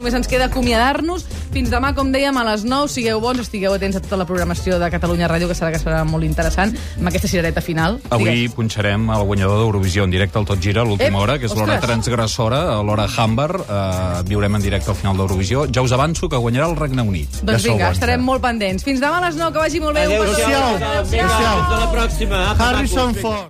només ens queda acomiadar-nos. Fins demà, com dèiem, a les 9. Sigueu bons, estigueu atents a tota la programació de Catalunya Ràdio, que serà que serà molt interessant, amb aquesta cirereta final. Avui punxarem el guanyador d'Eurovisió en directe al Tot Gira, a l'última Ep, hora, que és l'hora ostres. transgressora, a l'hora Humber. Eh, viurem en directe al final d'Eurovisió. Ja us avanço que guanyarà el Regne Unit. Doncs ja eh? vinga, estarem molt pendents. Fins demà a les 9, que vagi molt bé. Un petó. Adéu-siau. Vinga, fins a la pròxima. Apa, Harrison Ford.